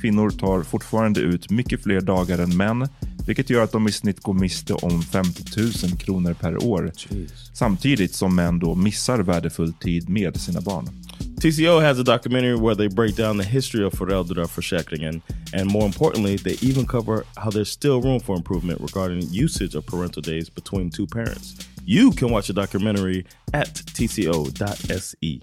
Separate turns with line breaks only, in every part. Kvinnor tar fortfarande ut mycket fler dagar än män, vilket gör att de i snitt går miste om 50 000 kronor per år. Samtidigt som män då missar värdefull tid med sina barn.
TCO has a documentary where they break down the history of föräldraförsäkringen and more importantly, they even cover how there's still room for improvement regarding usage of parental days between two parents. You can watch the documentary at tco.se.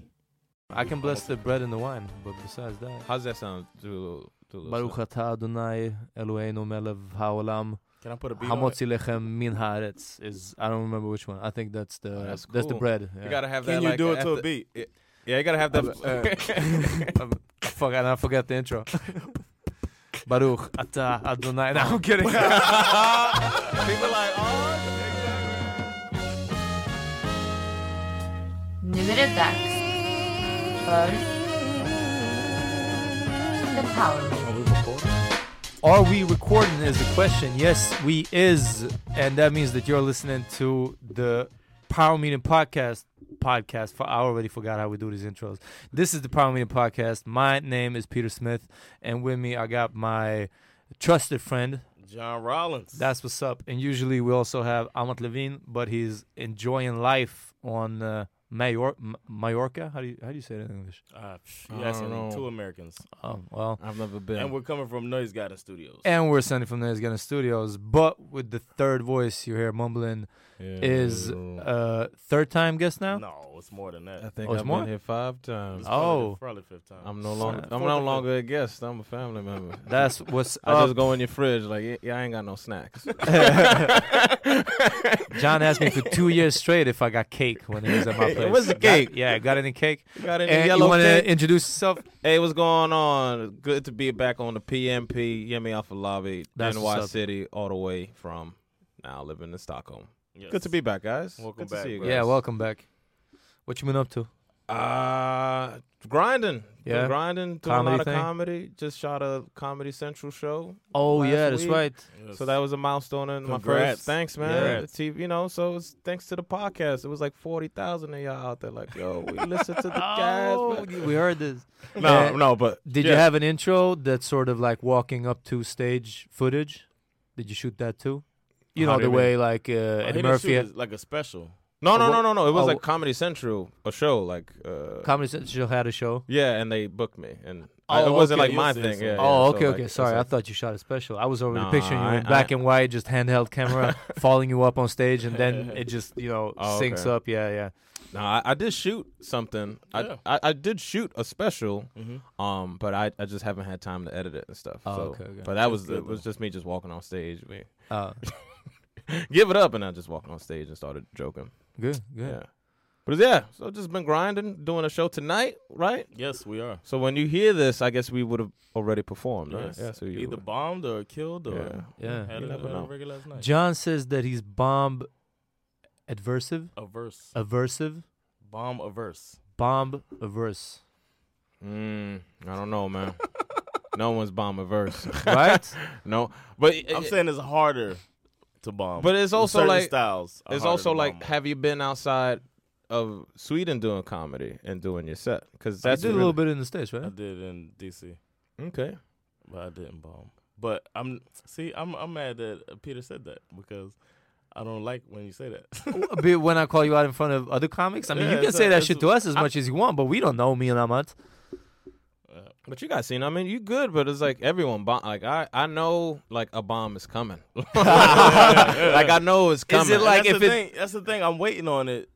I can bless the bread and the wine, but besides that...
How's that sound to, to
Baruch atah Adonai Eloheinu melech haolam
Can I put a beat on it?
Hamotzi lechem min haaretz is... I don't remember which one. I think that's the...
Oh, that's
that's, the
cool.
bread.
You gotta have that.
Can you
like,
do it
at
to a
the-
beat?
Yeah, yeah, you gotta have that.
Um, I forgot, I forgot the intro. Baruch atah Adonai... No, I'm kidding.
People like, oh.
Nu är det dags för The Power Move.
Are we recording is the question. Yes, we is. And that means that you're listening to the Power Meeting Podcast podcast. For I already forgot how we do these intros. This is the Power Meeting Podcast. My name is Peter Smith, and with me I got my trusted friend.
John Rollins.
That's what's up. And usually we also have Amat Levine, but he's enjoying life on uh, Major- M- Mallorca. How do you how do you say that in English?
Uh,
I
you asking
don't know.
two Americans.
Oh well.
I've never been.
And we're coming from Noise Garden Studios.
And we're sending from Noise Gunna Studios, but with the third voice you hear mumbling is uh third time guest now?
no, it's more than that.
I think
Oh, it's
I've
more?
been here five times.
Oh.
Probably fifth time.
I'm no longer.
Fourth
I'm
or
no
fifth.
longer a guest. I'm a family member.
That's what's
I
up.
just go in your fridge like, yeah, yeah, I ain't got no snacks.
John asked me for two years straight if I got cake when he was at my place.
What's the
Got-
cake?
yeah, got any cake?
got any
and you
yellow
want
cake?
to introduce yourself?
Hey, what's going on? Good to be back on the PMP, Yemi Alpha Lobby,
That's what's
NY
up.
City, all the way from now living in Stockholm. Good to be back, guys.
Welcome
Good to
back,
see you
bro.
guys.
Yeah, welcome back. What you been up to?
Uh, grinding,
Yeah.
grinding, doing
Comedy
a lot of
thing?
comedy. Just shot a Comedy Central show.
Oh
last
yeah, that's
week.
right.
So that was a milestone in my
Congrats.
first. Thanks, man.
Congrats.
T- You know, so it's thanks to the podcast. It was like forty thousand of y'all out there, like, yo, we listen to the
Oh,
guys. man.
we heard this.
No,
Uh,
no, but
Did you
yeah.
have an intro that's sort of like walking up to stage footage? Did you shoot that too? You
How
know
do
the
you
way like uh,
Oh,
Well,
Eddie
he didn't shoot
Murphy,
his- like a special.
No, no, no, no, no. It was
Oh,
like
wh-
Comedy Central, a show, like. Uh,
Comedy Central had a show.
yeah, and they booked me, and I-
Oh,
it wasn't
okay,
like my
yes, yes,
thing. Yeah,
yes.
oh,
yeah, so,
okay,
like,
okay.
it's
Sorry, I
like-
thought you shot a special. I was already
Nah,
picturing you
I-
in black
I-
and white, just handheld camera, following you up on stage, and then it just you know
Oh,
syncs
okay.
up. Yeah, yeah.
No, I, I did shoot something.
Yeah.
I, I I did shoot a special, um, but I, I just haven't had time to edit it and stuff.
Oh,
so,
okay, okay.
But that was it was just me just walking on stage. We
Uh,
give it up, and I just walked on stage and started joking.
good, good.
Yeah. But yeah, so just been grinding, doing a show tonight, right?
Yes, we are.
So when you hear this, I guess we would have already performed, right?
Yes.
Yeah. So you
Either
would-
bombed or killed or
Yeah.
Yeah.
had
You
a,
never
a
know.
regular last night.
John says that he's bomb adversive,
averse.
aversive,
Bomb averse.
bomb averse,
Mm, I don't know, man. no one's bomb averse.
right?
no, but uh,
I'm saying it's harder to bomb.
But it's also
Certain
like-
styles. are
It's
harder
also
to
like,
bomb.
have you been outside of Sweden doing comedy and doing your set? Because that's
you did a
really-
little bit in the states,
I
right?
did in DC,
Okay.
but I didn't bomb. But I'm see, I'm I'm mad that uh, Peter said that because I don't like when you say that.
A bit when I call you out in front of other comics. I mean,
Yeah,
you can
it's
say
a-
that
it's
shit
a-
to us as much as you want, but we don't know me and Ahmad.
But you guys seen, I mean, you good, but it's like everyone bomb. Like I, I know, like a bomb is coming. Like I know it's coming.
it like
that's
if
the
it-
thing. That's the thing. I'm waiting on it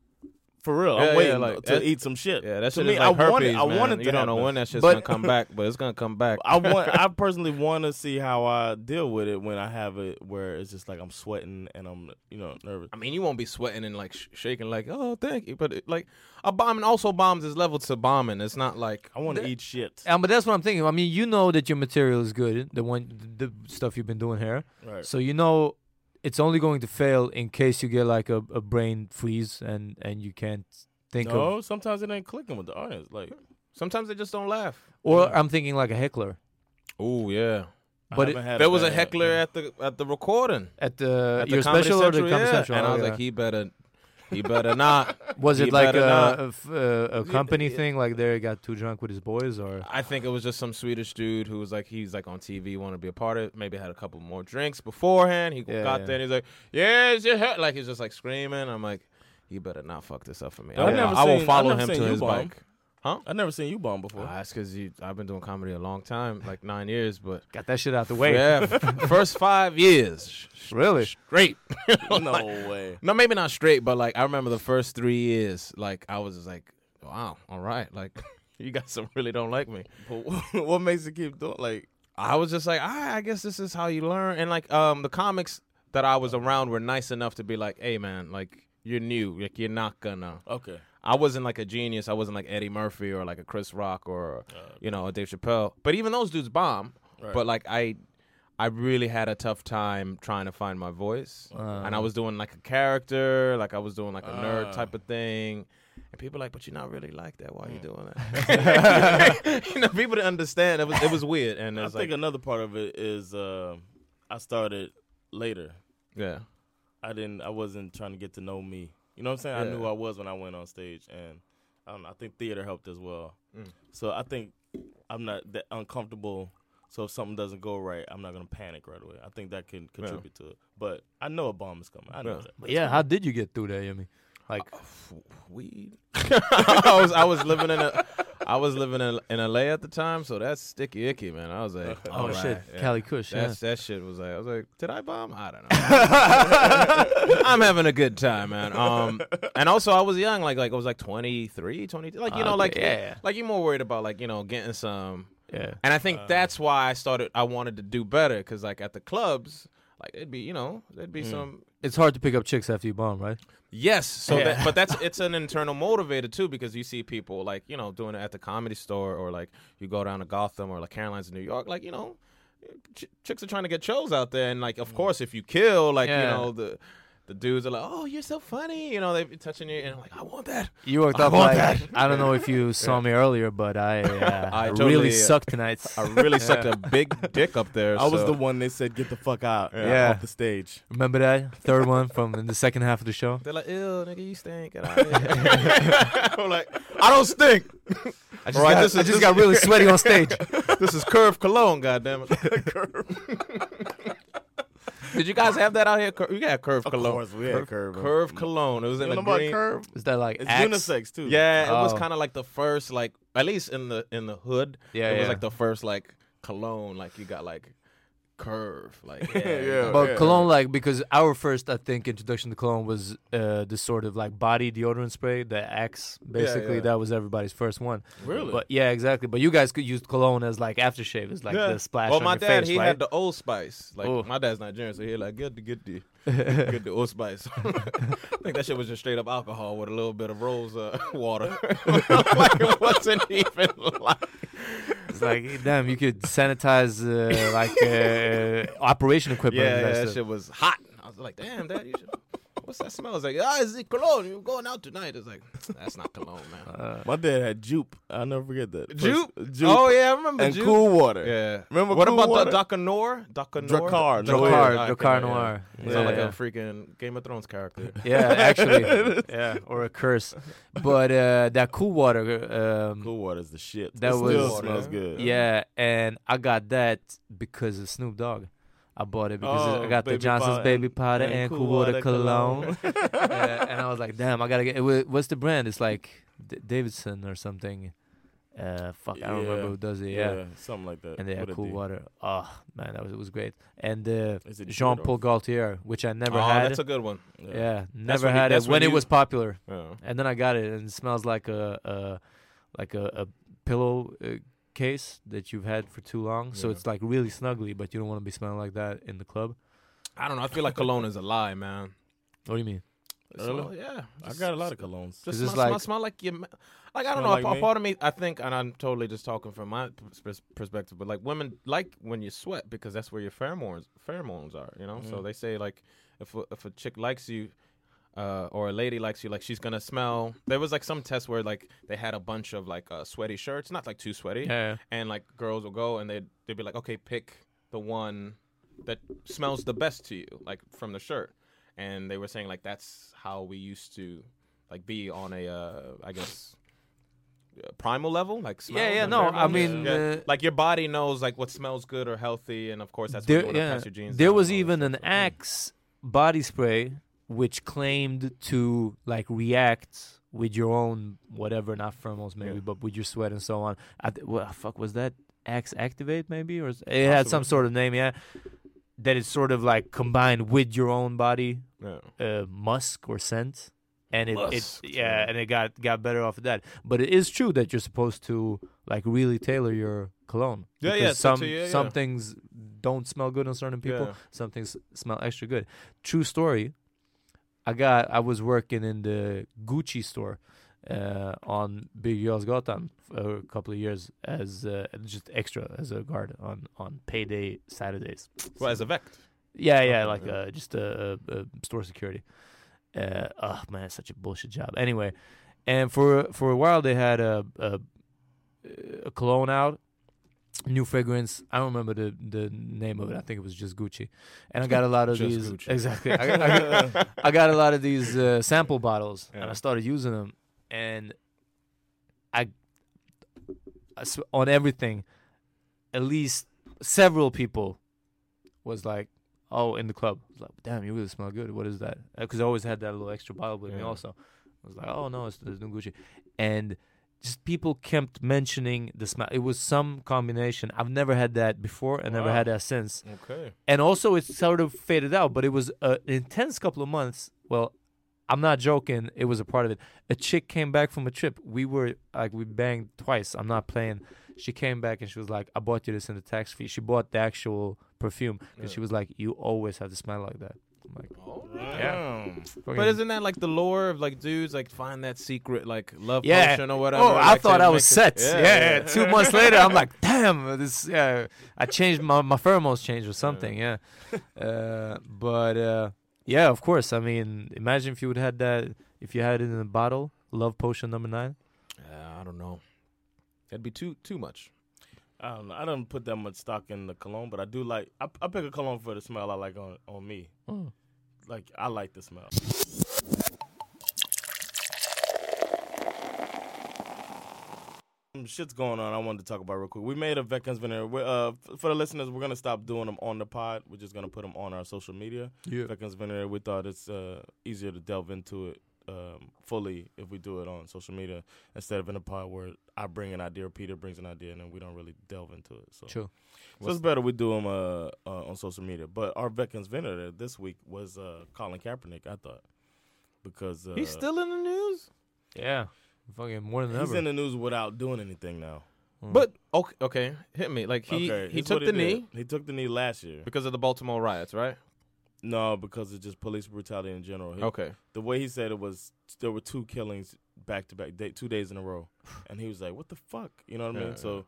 for real.
Yeah, yeah,
I'm waiting
like,
to
that-
eat some shit.
yeah, that
to
shit
me,
is like
I
herpes,
wanted. I
man.
wanted.
You
to
don't know
happen.
when that shit's
But
gonna come back, but it's gonna come back.
I want. I personally want to see how I deal with it when I have it, where it's just like I'm sweating and I'm, you know, nervous.
I mean, you won't be sweating and like sh- shaking, like oh, thank you. But it, like a bombing also bombs is level to bombing. It's not like
I want to eat shit.
Um, but that's what I'm thinking. I mean, you know that your material is good, the one, the stuff you've been doing here.
Right.
So you know it's only going to fail in case you get like a, a brain freeze and and you can't think
no,
of.
sometimes it ain't clicking with the audience. Like,
sometimes they just don't laugh.
Or I'm thinking like a heckler.
Oh yeah,
But it,
haven't had
there was a
bad-
heckler at the at the recording.
at the,
At the
your
Comedy
special or
Central,
the Comedy
yeah.
Central?
And I
Oh,
was
yeah.
like, he better, he better not.
was
he
it like
better
a,
not.
a f- a- a company thing? Like there, he got too drunk with his boys, or
I think it was just some Swedish dude who was like, he's like on TV, want to be a part of. it. Maybe had a couple more drinks beforehand. He
Yeah,
got
yeah.
there, and he's like, yeah, it's your hair. Like he's just like screaming. I'm like, you better not fuck this up for me. I,
I've
will-
never
I will
seen-
follow
I've never
him to
seen you
his
bomb.
bike. Huh?
I never seen you bomb before.
Ah, that's because I've been doing comedy a long time, like nine years, but
got that shit out the way.
yeah, f- first five years
Really?
straight.
no way.
No, maybe not straight, but like I remember the first three years, like I was just like, wow, all right, like you guys really don't like me.
But what makes you keep doing? Like,
I was just like, ah, I guess this is how you learn. And like, um, the comics that I was around were nice enough to be like, hey man, like you're new, like you're not gonna.
okay,
I wasn't like a genius. I wasn't like Eddie Murphy or like a Chris Rock or you know a Dave Chappelle. But even those dudes bomb. But like I, I really had a tough time trying to find my voice, and I was doing like a character, like I was doing like a nerd type of thing. And people were like, but you're not really like that. Why are you doing that? you know, people didn't understand. It was it was weird, and it
I
was like,
think another part of it is uh, I started later.
yeah,
I didn't. I wasn't trying to get to know me. You know what I'm saying?
Yeah.
I knew I was when I went on stage, and I don't know, I think theater helped as well.
Mm.
So I think I'm not that uncomfortable. So if something doesn't go right, I'm not gonna panic right away. I think that can contribute to it. But I know a bomb is coming. I know
Yeah.
that.
But yeah, how did you get through that, Yummy? Like,
weed. I was I was living in a. I was living in, in LA at the time, so that's sticky icky, man. I was like,
oh
all
shit,
right, yeah.
Cali Kush. Yeah.
That's, that shit was like, I was like, did I bomb? I don't know. I'm having a good time, man. Um, and also I was young, like like I was like 23, 22. like you know,
Okay,
like
yeah, yeah.
like you're more worried about like you know getting some.
Yeah.
And I think that's why I started. I wanted to do better because like at the clubs, like it'd be you know there'd be some
It's hard to pick up chicks after you bomb, right?
Yes. So,
Yeah.
that, but that's it's an internal motivator too because you see people like you know doing it at the comedy store or like you go down to Gotham or like Caroline's in New York, uh, like you know,
Mm.
ch- chicks are trying to get shows out there, and like of course if you kill, like
Yeah.
you know the. the dudes are like, "Oh, you're so funny," you know, they be touching you, and I'm like, "I want that."
You worked
I
up
want that.
like I don't know if you saw me earlier, but I, uh,
I
really
totally-
sucked tonight.
I really sucked a big dick up there.
I was
so-
the one they said get the fuck out uh,
Yeah.
off the stage.
Remember that third one from in the second half of the show?
They're like, "Ew, nigga, you stink." Get out of here." I'm like, "I don't stink." I just,
Or I, I just got really sweaty on stage.
this is Curve Cologne, goddammit. Did you guys have that out here? Cur- We got Curve
Of
Cologne.
course, we had Curve.
Curve Cologne. It was in
You
the
know about
green.
curve?
Is that like
It's
Axe?
unisex too.
Yeah, it was
Oh.
kind of like the first, like at least in the in the hood.
Yeah,
it
yeah.
was like the first like cologne. Like you got like Curve. Like yeah,
Yeah.
But cologne, like because our first, I think, introduction to cologne was uh, this sort of like body deodorant spray, the Axe. Basically,
yeah.
that was everybody's first one.
Really?
But yeah, exactly. But you guys could use cologne as like aftershave, it's like the splash
Well,
on
my
your
dad
face,
he
right?
had the Old Spice. Like
Ooh.
my dad's Nigerian, so he like get the get the get the Old Spice. I think that shit was just straight up alcohol with a little bit of rose uh, water. like it wasn't even like
It's like, damn, you could sanitize uh, like uh, operation equipment.
yeah, yeah,
and that
that
stuff.
shit was hot. I was like, damn, dad, you should. What's that smell? It's like, ah, it's the cologne. You're going out tonight. It's like, that's not cologne, man.
Uh, My dad had Jupe. I'll never forget that. First-
Jupe?
Jupe.
Oh yeah, I remember
and
Jupe.
cool water.
Yeah.
Remember
what
cool
about
water?
the Dakanor? Dakanor?
Drakkar,
Drakkar,
Noir.
I think,
Drakkar
yeah.
Noir.
It's not like
Yeah.
a freaking Game of Thrones character.
Yeah, actually, yeah, or a curse. But uh, that cool water, um,
Cool water's the shit.
That
it still
was-
smells good.
yeah, and I got that because of Snoop Dogg. I bought it because
Oh,
I got the
baby
Johnson's
powder
baby
and-
powder and,
and
cool
Cool
water
Water
cologne, Yeah, and I was like, damn, I gotta get. It wa- what's the brand? It's like D- Davidson or something. Uh, fuck, I don't remember
Yeah,
who does it.
yeah,
Yeah,
something like that.
and they
What
had
a
cool
D.
water. Oh man, that was it was great. And uh,
Is it
Jean Paul
Dordorff?
Gaultier, which I never
oh,
had.
that's a good one.
yeah.
That's
never
when you-
had it
that's
when
when
it
you-
was popular.
Yeah.
And then I got it, and it smells like a, a like a, a pillow uh, case that you've had for too long. So it's like really snuggly, but you don't want to be smelling like that in the club.
I don't know. I feel like cologne is a lie, man.
What do you mean?
It
Really?
smell- yeah.
I got a lot of colognes.
Just
Is this
smell, smell,
like-
smell like your, ma- like I
Smell
don't know.
like
a, a
me?
part of me, I think, and I'm totally just talking from my pers- perspective, but like women like when you sweat because that's where your pheromones pheromones are. You know,
Mm.
so they say like if a, if a chick likes you. Uh, or a lady likes you, like she's gonna smell. There was like some test where like they had a bunch of like uh, sweaty shirts, not like too sweaty,
Yeah.
and like girls will go and they they'd be like, okay, pick the one that smells the best to you, like from the shirt. And they were saying like that's how we used to like be on a uh, I guess uh, primal level, like smells
yeah,
and
no, I
pheromones.
mean, uh,
like your body knows like what smells good or healthy, and of course that's what you
There,
want to
yeah.
pass your genes.
there
down
was
and all
even
that
an
stuff.
Axe body spray which claimed to like react with your own whatever, not pheromones maybe, but with your sweat and so on. I th- what fuck was that? Axe Activate maybe, or s- it had some sort of name, yeah. That is sort of like combined with your own body
Yeah.
uh, musk or scent, and it, it
Musk,
yeah, and it got got better off of that. But it is true that you're supposed to like really tailor your cologne.
Yeah, yeah,
because
so
Some
to you, yeah,
some
yeah.
things don't smell good on certain people.
Yeah.
Some things smell extra good. True story. I got I was working in the Gucci store uh, on Big Götgatan for a couple of years as uh, just extra as a guard on on payday Saturdays.
Well, as a vec,
Yeah, yeah,
Okay,
like
yeah.
Uh, just a, uh uh store security. Uh, oh man, it's such a bullshit job. Anyway, and for for a while they had a a, a cologne out, new fragrance. I don't remember the the name of it. I think it was just Gucci, and I got a lot of
Just
these
Gucci.
exactly. I, got- I got- I got a lot of these uh, sample bottles, and
Yeah.
I started using them, and I, I sw- on everything, at least several people was like, "Oh, in the club." I was like, "Damn, you really smell good. What is that?" Because I always had that little extra bottle with me.
Yeah.
Also, I was like, "Oh no, it's, it's new Gucci," and just people kept mentioning the smell. It was some combination. I've never had that before, and never
Wow.
had that since.
okay,
And also, it sort of faded out. But it was a intense couple of months. Well. I'm not joking. It was a part of it. A chick came back from a trip. We were like, we banged twice. I'm not playing. She came back and she was like, I bought you this in the tax fee. She bought the actual perfume. And she was like, You always have to smell like that. I'm like, Oh,
yeah.
fucking-
But isn't that like the lore of like dudes like find that secret like love
yeah.
potion or whatever?
Oh, I
like, to
thought I
make
was
it-
set. Yeah, yeah. Two months later, I'm like, damn, this. Yeah, I changed my my pheromones changed or something. Yeah, uh, but uh, Yeah, of course. I mean, imagine if you would had that if you had it in a bottle, love potion number nine.
Uh, I don't know. That'd be too too much.
I don't know. Um, I don't put that much stock in the cologne, but I do like. I, I pick a cologne for the smell I like on on me. Like I like the smell. Some shit's going on. I wanted to talk about real quick. We made a Veterans Veneer. We're, Uh, f- for the listeners, we're gonna stop doing them on the pod. We're just gonna put them on our social media.
Yeah.
Veterans Veneer. We thought it's uh, easier to delve into it um, fully if we do it on social media instead of in a pod where I bring an idea, or Peter brings an idea, and then we don't really delve into it. So
True.
so it's better we do them uh, uh, on social media. But our Veterans Venator this week was uh, Colin Kaepernick, I thought. Because uh,
He's still in the news.
Yeah. Fucking more than
he's
ever. Hmm.
in the news without doing anything now.
But okay, okay, hit me. Like he
okay,
he
here's
took
what
the knee
did. He took the knee last year.
because of the Baltimore riots, right?
No, because of just police brutality in general. He-
Okay.
The way he said it was there were two killings back to back, day, two days in a row, and he was like, "What the fuck?" You know what I
Yeah,
mean? So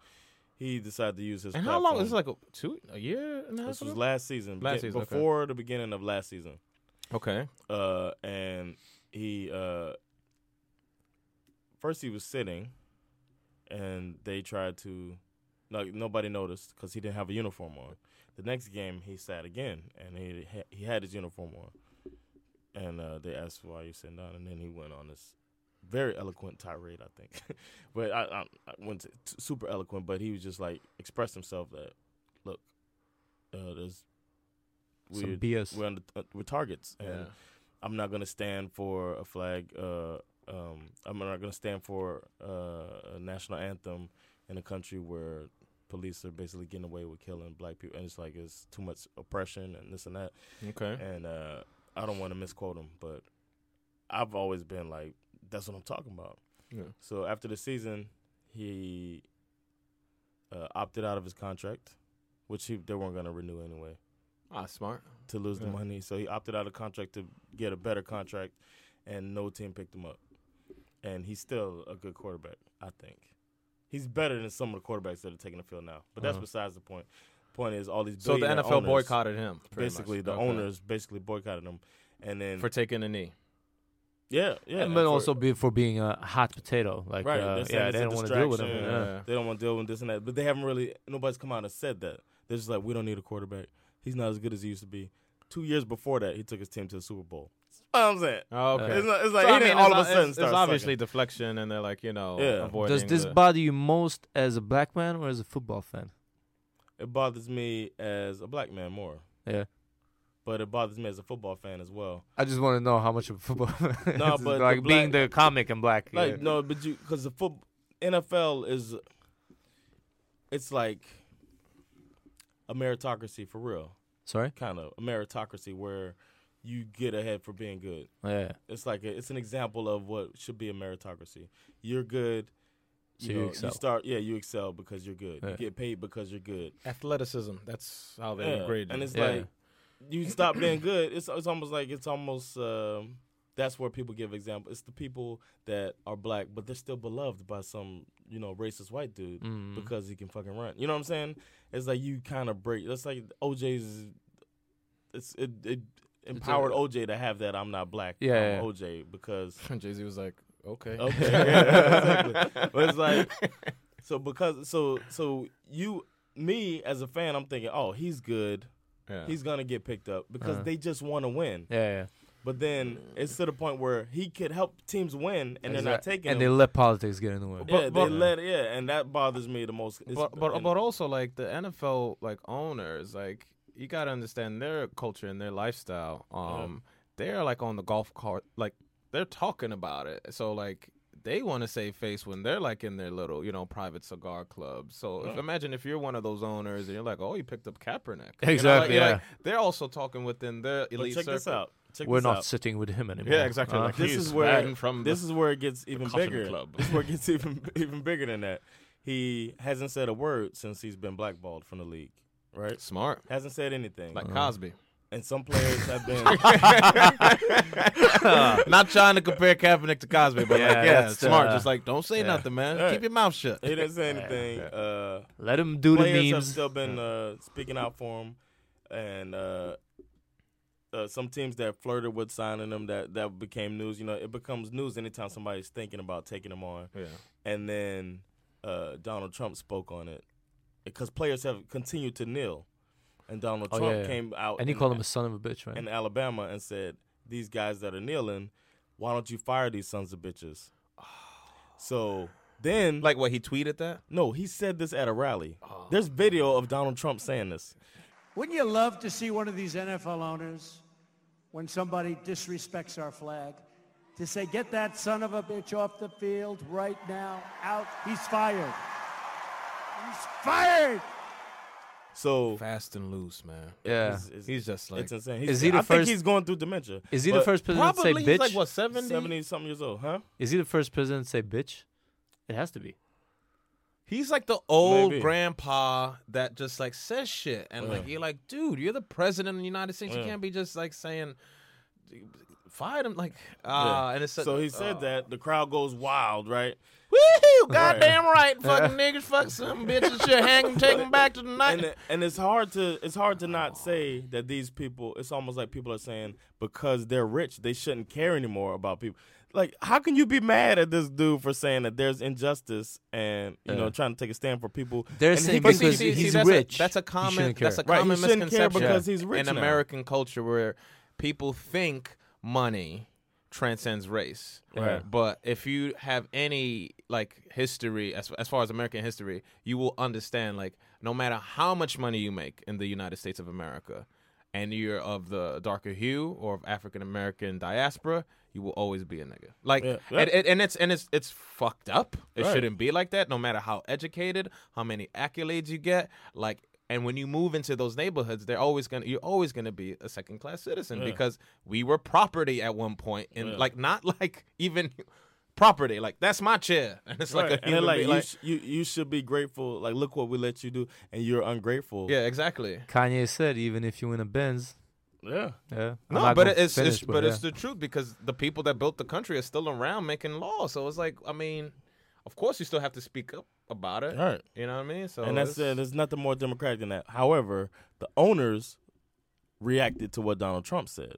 he decided to use his.
and how long?
platform.
It's like a, two a year and a half.
this was
ago?
last season,
Last
begin-
season, okay.
before the beginning of last season.
okay.
uh, and he uh, first he was sitting, and they tried to like nobody noticed because he didn't have a uniform on. The next game he sat again, and he ha- he had his uniform on, and uh, they asked why you sitting down, and then he went on this very eloquent tirade, I think, but I, I, I went to, t- super eloquent, but he was just like expressed himself that look, uh, there's
Some
we're,
BS.
we're, on the, uh, we're targets, and
Yeah.
I'm not gonna stand for a flag. Uh, um, I'm not gonna stand for uh, a national anthem in a country where police are basically getting away with killing black people, and it's like it's too much oppression and this and that.
Okay.
And uh, I don't want to misquote him, but I've always been like, that's what I'm talking about.
Yeah.
So after the season, he uh, opted out of his contract, which he, they weren't gonna renew anyway
Ah, smart.
to lose the
Yeah.
money. So he opted out of contract to get a better contract, and no team picked him up. And he's still a good quarterback, I think. He's better than some of the quarterbacks that are taking the field now. But that's
Uh-huh.
besides the point. Point is, all these
So the
billionaire
NFL
owners-
boycotted him. pretty much.
basically the
Okay.
owners basically boycotted him, and then
for taking a knee.
yeah, yeah,
and but
for-
also be for being a hot potato. Like
Right,
uh,
they're saying
yeah,
it's
they
a
don't want to deal with him.
distraction, uh,
Yeah.
Yeah.
they don't want to deal with this and that. But they haven't really nobody's come out and said that. They're just like, we don't need a quarterback. He's not as good as he used to be. Two years before that, he took his team to the Super Bowl. That's what I'm saying.
Oh, okay.
It's, not, it's like
So,
he
I mean,
didn't
it's
all of a
not-
sudden
it's,
start
it's obviously
sucking.
deflection, and they're like, you know,
Yeah.
avoiding.
Does this
the-
bother you most as a black man or as a football fan?
it bothers me as a black man more,
Yeah.
but it bothers me as a football fan as well.
I just want to know how much of a football fan
No,
is,
but the
like being
black-
the comic and black.
Like
yeah.
no, but you because the foot NFL is it's like a meritocracy for real,
Sorry?
kind of a meritocracy where you get ahead for being good.
Oh, Yeah.
It's like a, it's an example of what should be a meritocracy. You're good.
So you
know,
excel.
start, yeah. You excel because you're good.
Yeah.
You get paid because you're good.
athleticism? That's how they
Yeah,
grade.
And
it.
it's
Yeah.
like you stop being good. It's it's almost like it's almost um, that's where people give example. It's the people that are black, but they're still beloved by some you know racist white dude
Mm-hmm.
because he can fucking run. You know what I'm saying? It's like you kind of break. That's like OJ's. It's it it empowered OJ to have that. I'm not black.
Yeah,
I'm
yeah.
OJ because
Jay Z was like, okay,
Okay. yeah, exactly. But it's like so because so so you me as a fan, I'm thinking, oh, he's good.
Yeah.
He's gonna get picked up because
Uh.
they just want to win.
Yeah, yeah.
But then it's to the point where he could help teams win, and they're not
Exact-
taking
And they
him.
let politics get in the way.
yeah,
But- but-
they let yeah, and that bothers me the most. It's-
but but
and-
but also like the NFL like owners like you gotta understand their culture and their lifestyle. Um, they're like on the golf cart like they're talking about it. So like they want to save face when they're like in their little you know private cigar clubs. So if, imagine if you're one of those owners and you're like, oh, you picked up Kaepernick. You know,
Exactly,
like-
yeah.
like, they're also talking within their
but
elite
check
circle.
this out. Check
We're
this
not
out.
sitting with him anymore.
Yeah, exactly.
Uh,
like
this
he's
is where
riding from
this
the-
is where it gets even
coffin
bigger.
club.
This is where it gets even even bigger than that. He hasn't said a word since he's been blackballed from the league. Right?
smart
Hasn't said anything.
like Cosby.
and some players have been.
Not trying to compare Kaepernick to Cosby, but
Yeah,
like, yeah,
that's,
smart.
uh,
Just like, don't say nothing, man.
Right.
Keep your mouth shut.
he didn't say anything. Uh,
let him do the
players have
memes.
still been uh, speaking out for him, and uh, uh, some teams that flirted with signing them that that became news. You know, it becomes news anytime somebody's thinking about taking them on.
Yeah.
And then uh, Donald Trump spoke on it because players have continued to kneel, and Donald
Oh,
Trump
yeah, yeah.
came out
And he
in-
called him a son of a bitch,
in
man.
Alabama and said, "These guys that are kneeling, why don't you fire these sons of bitches?" So then,
Like what he tweeted that?
no, he said this at a rally. There's video of Donald Trump saying this.
Wouldn't you love to see one of these NFL owners, when somebody disrespects our flag, to say, get that son of a bitch off the field right now, out, he's fired. He's fired!
So
Fast and loose, man.
Yeah.
it's- it's-
He's just like
it's insane. He's,
Is he the
I think
first-
he's going through dementia.
Is he the
But
first president to say
probably he's
bitch?
like what 70?
Seventy something years old, huh?
Is he the first president to say bitch? It has to be.
He's like the old
Maybe.
grandpa that just like says shit and like
Yeah.
you're like, dude, you're the president of the United States. You
Yeah.
can't be just like saying fire him like ah and it's
so he said that the crowd goes wild, right?
Woo! Goddamn right, fucking niggas, fuck some bitches, shit, hang them, take them back to the night.
And and it's hard to it's hard to not say that these people. It's almost like people are saying because they're rich, they shouldn't care anymore about people. Like, how can you be mad at this dude for saying that there's injustice and you know trying to take a stand for people?
They're
And he-
saying
but see,
because
see, see,
he's
that's
rich,
A, that's a
he
common.
shouldn't
That's a
care.
Right, he
common
shouldn't care
misconception
because he's rich
in
now.
American culture where people think money transcends race.
Right.
But if you have any like history as as far as American history, you will understand like no matter how much money you make in the United States of America and you're of the darker hue or of African American diaspora, you will always be a nigga. Like
Yeah.
and- and, and it's and it's it's fucked up. It
Right.
shouldn't be like that. No matter how educated, how many accolades you get, like, and when you move into those neighborhoods, they're always gonna you're always gonna be a second class citizen because we were property at one point, and like not like even property. Like that's my chair, and it's like
Right.
a
and they're
human
like,
being,
you,
like-
sh- you you should be grateful. Like, look what we let you do, and you're ungrateful.
yeah, exactly.
Kanye said, even if you win a Benz,
yeah.
yeah. I'm
No,
not
but
gonna
it's,
finish,
it's but, it's
yeah.
the truth because the people that built the country are still around making law. So it's like, I mean, of course you still have to speak up about it.
Right.
You know what I mean? So
and that's
it's-
uh, there's nothing more democratic than that. However, the owners reacted to what Donald Trump said,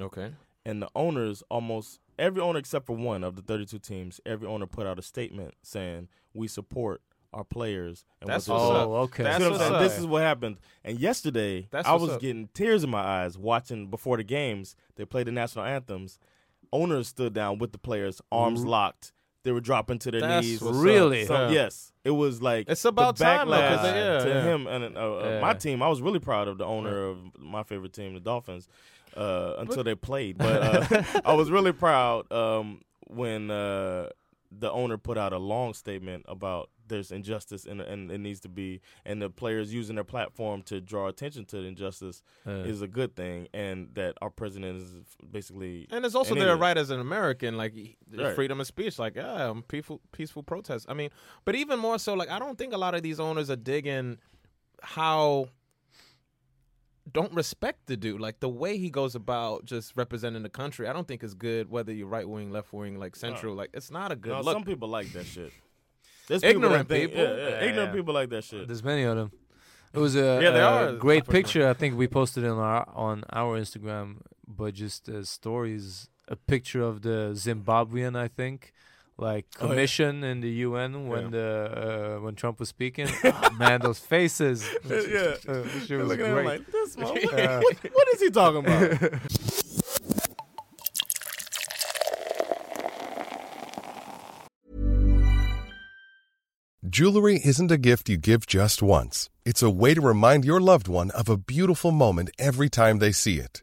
okay.
and the owners almost every owner except for one of the 32 teams, every owner put out a statement saying we support our players. And
That's
what
what's
they're
up.
Oh, okay.
You
That's
see what I'm
what's
saying?
up.
This is what happened. And yesterday,
That's
I
what's
was
up.
getting tears in my eyes watching before the games. They played the national anthems. Owners stood down with the players, arms locked. They were dropping to their
That's
knees.
what's
up. Really?
So,
Yeah.
Yes, it was like
It's about
the
time, though, 'cause
backlash
they- yeah,
to
yeah.
him and uh, uh, my
Yeah.
team. I was really proud of the owner of my favorite team, the Dolphins, uh, until they played. But uh, I was really proud um, when uh, the owner put out a long statement about there's injustice and and it needs to be and the players using their platform to draw attention to the injustice is a good thing and that our president is basically
And it's also
an
their
idiot.
right as an American, like y- the
Right.
freedom of speech, like yeah, um, peaceful peaceful protest. I mean, but even more so, like I don't think a lot of these owners are digging how don't respect the dude. Like the way he goes about just representing the country, I don't think is good. Whether you're right wing, left wing, like central, like it's not a good
No,
look.
some people like that shit. There's
Ignorant
that think-
people?
yeah, yeah,
Yeah,
ignorant
yeah.
people like that shit.
There's many of them. It was a,
Yeah, there are.
a great picture. I think we posted on our on our Instagram, but just uh, stories. A picture of the Zimbabwean, I think, like
Oh, yeah.
commission in the UN when the uh, when Trump was speaking. Ah, man, those faces.
yeah.
Uh, she
They're
was
looking at him
great.
like, this mo- what, what- what is he talking about?
Jewelry isn't a gift you give just once. It's a way to remind your loved one of a beautiful moment every time they see it.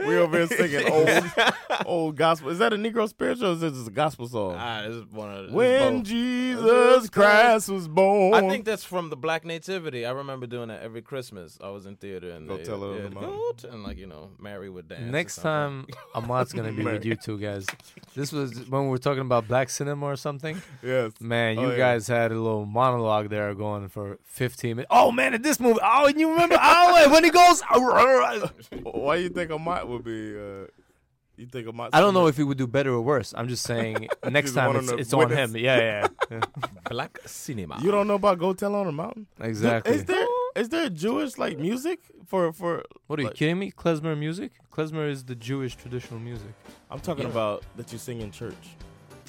We over here singing old, old gospel. Is that a Negro spiritual or is this a gospel song?
Ah, this is one of this is
when
both.
Jesus Christ was born.
I think that's from the Black Nativity. I remember doing that every Christmas. I was in theater and
Go
they,
tell her
yeah,
the mom.
go t- and like you know, Mary would dance. or
Next
something.
time, Ahmad's gonna be with you two guys. This was when we were talking about black cinema or something.
Yes.
Man,
Oh,
you
yeah.
guys had a little monologue there going for 15 minutes. Oh man, in this movie. Oh, and you remember? Oh, when he goes.
Why you think a mot would be? Uh, you think a mot?
I don't know if he would do better or worse. I'm just saying next
Just
time
wanted
it's,
to
it's on
witness.
him. Yeah, yeah.
Black cinema.
You don't know about Go Tell on the Mountain?
Exactly.
Is there is there Jewish like music for for?
What are you
like-
kidding me? Klezmer music? Klezmer is the Jewish traditional music.
I'm talking
Yeah.
about that you sing in church,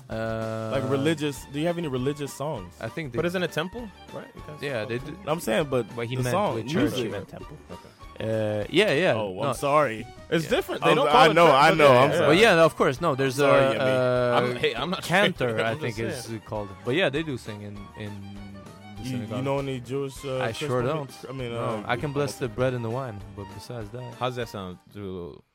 Uh,
like religious. Do you have any religious songs?
I think. They,
But isn't a temple, right? You guys-
yeah, they do.
I'm saying, but
But he
the
meant
song,
with church.
music.
He
meant temple. Okay.
Uh, yeah, yeah.
Oh, I'm
no.
sorry. It's different. They
Oh,
don't.
I
call it
know,
church,
I
but
know,
yeah,
I'm
yeah.
sorry.
But yeah, no, of course, no. There's
Sorry,
a
Yemi.
uh,
I'm- hey, I'm not
cantor,
sure. I'm
I
just
think is
saying.
called. But yeah, they do sing in in the
You,
synagogue.
you know any Jewish? Uh,
I sure
Christian
don't.
music? I mean,
No,
uh,
I can bless the bread and the wine, but besides that,
How's that sound? Do,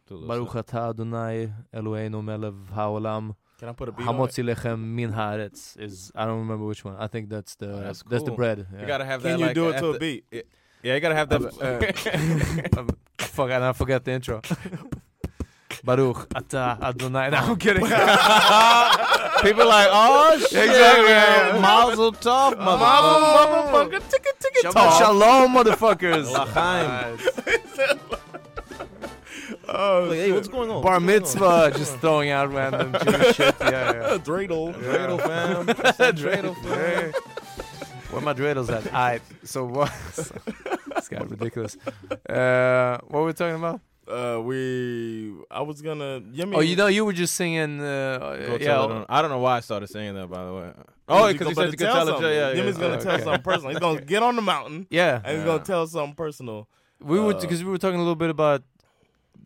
do
Baruch atah Adonai Eloheinu Melech haolam
Can I put a beat on it?
hamotzi lechem min haaretz is I don't remember which one. I think that's the
Oh,
that's,
that's
the
cool.
bread.
You
yeah.
gotta have that.
Can you
like, uh,
do it to
after-
a beat? Yeah.
Yeah, you gotta have that.
Uh, fuck, and I forgot the intro. Baruch Ah. atah Adonai. No, I'm kidding.
People like, oh shit,
Exactly, yeah, yeah.
Mazel tov,
Motherfucker,
motherfucker.
ticket, ticket,
Shabbat shalom, motherfuckers.
Lachaim.
Oh,
Hey, what's going on? What's going
Bar
on?
mitzvah, just throwing out random Jewish shit. Yeah, yeah.
dreidel.
Dreidel fam. Dreidel fam.
Hey. Where my dreidels at? All right. So what? this guy ridiculous. Uh, what were we talking about?
Uh, we. I was gonna. Yemi,
Oh, you know, you were just singing. Uh,
Go tell
yeah.
her- I don't know why I started saying that, by the way.
Oh,
Oh, because he said you could tell it. Yeah, yeah, yeah.
Jimmy's gonna
Oh,
tell
okay.
something personal. He's gonna get on the mountain
Yeah.
and he's gonna tell something personal.
uh, We were
Uh,
because we were talking a little bit about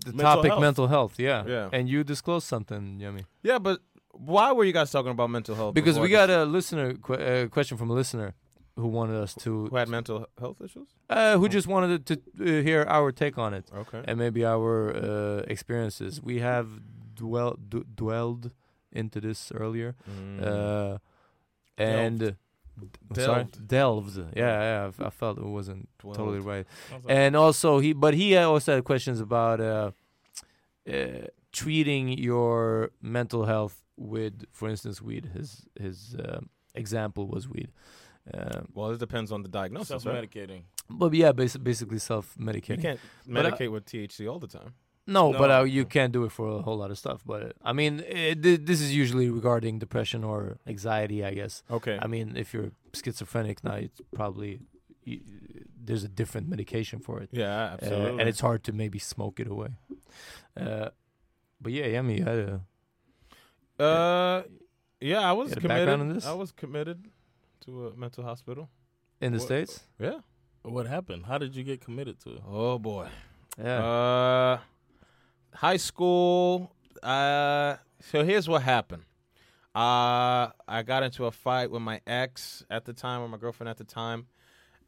the
Mental
topic
health.
mental health. Yeah.
Yeah.
And you disclosed something, Yummy.
Yeah, but why were you guys talking about mental health?
Because
before
we
I
got a listener qu- uh, question from a listener who wanted us
just-
to
who had mental health issues.
uh, who just wanted to uh, hear our take on it.
Okay.
and maybe our uh, experiences. We have dwell d- dwelled into this earlier,
Mm-hmm. Mm.
uh, and uh,
Delved.
I'm sorry?
Delved.
delved. Yeah, yeah. I f- I, felt it wasn't totally
Dwelled.
right.
Sounds like-
And also, he but he also had questions about uh, uh, treating your mental health with, for instance, weed. His his uh, example was weed. Um,
Well, it depends on the diagnosis, right?
self-medicating.
but yeah, basi- basically
You
self-medicating.
can't
But, uh,
medicate with THC all the time.
No, but
No.
uh, you can't do it for a whole lot of stuff. But uh, I mean, eh, thi- this is usually regarding depression or anxiety, I guess.
Okay.
I mean, if you're schizophrenic now, it's probably y there's a different medication for it,
yeah,
Uh,
absolutely.
and it's hard to maybe smoke it away. Uh, but yeah, Yemi, you had a
Uh, yeah, I was
had a
committed.
background in this?
I was committed to a mental hospital.
in the
What-
states.
Yeah.
What happened? How did you get committed to? it?
Oh boy.
Yeah,
Uh, high school. Uh, so here's what happened. Uh, I got into a fight with my ex at the time, or my girlfriend at the time,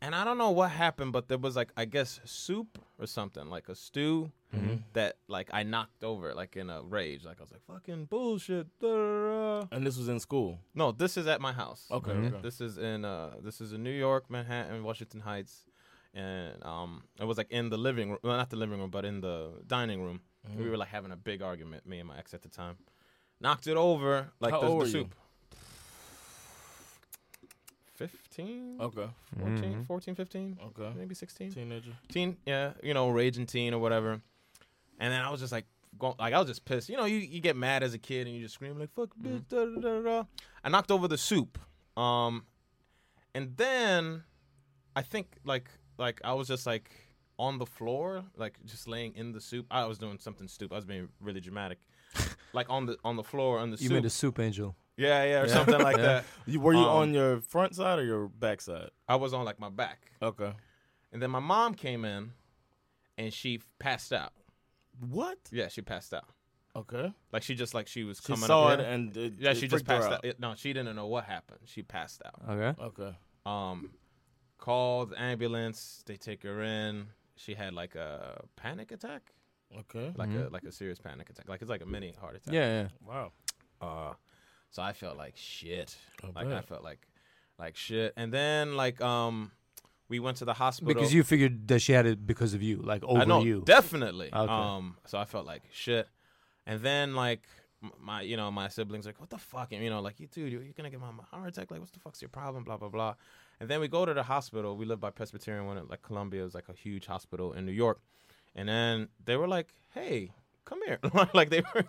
and I don't know what happened, but there was like I guess soup or something, like a stew
Mm-hmm.
that like I knocked over, like in a rage. Like I was like fucking bullshit. da, da, da."
And this was in school.
No, this is at my house.
Okay,
Mm-hmm.
okay.
This is in uh this is in New York, Manhattan, Washington Heights. And um it was like in the living
Mm-hmm.
room well, not the living room, but in the dining room. We were like having a big argument, me and my ex at the time. knocked it over like
How
the,
old
the
were you?
soup. 15
Okay.
14
Mm-hmm.
Mhm.
14 15
Okay.
maybe 16
Teenager.
teen yeah you know raging teen or whatever and then i was just like going like i was just pissed you know you, you get mad as a kid and you just scream like fuck bitch da, da, da, da, da. i knocked over the soup um and then i think like like i was just like on the floor like just laying in the soup i was doing something stupid i was being really dramatic like on the on the floor on the
You
soup
made a soup angel.
yeah yeah or
Yeah.
something like
Yeah.
that
You- were you
Um,
on your front side or your back side?
I was on like my back.
Okay.
And then my mom came in and she f- passed out.
What?
Yeah, she passed out.
Okay.
Like she just like she was
She
coming
saw
up.
it
Yeah.
and it-
Yeah,
it
she just
freaked her
passed
out.
out.
Uh,
Yeah, No, she didn't know what happened. She passed out.
Okay.
Okay.
Um called the ambulance, they take her in. She had like a panic attack.
Okay.
Like a
Mhm.
like a serious panic attack. Like it's like a mini heart attack.
Yeah, yeah.
Wow.
Uh so I felt like shit.
I
like I
bet.
felt like like shit. And then like um we went to the hospital
Because you figured that she had it because of you, like over
I know,
you.
Definitely.
Okay.
Um, so I felt like shit. And then like m- my, you know, my siblings like, what the fuck? And you know, like you dude, you- you're gonna give my mom a heart attack. Like, what's the fuck's your problem? Blah blah blah. And then we go to the hospital. We live by Presbyterian one, at, like Columbia is like a huge hospital in New York. And then they were like, hey, come here. like they were.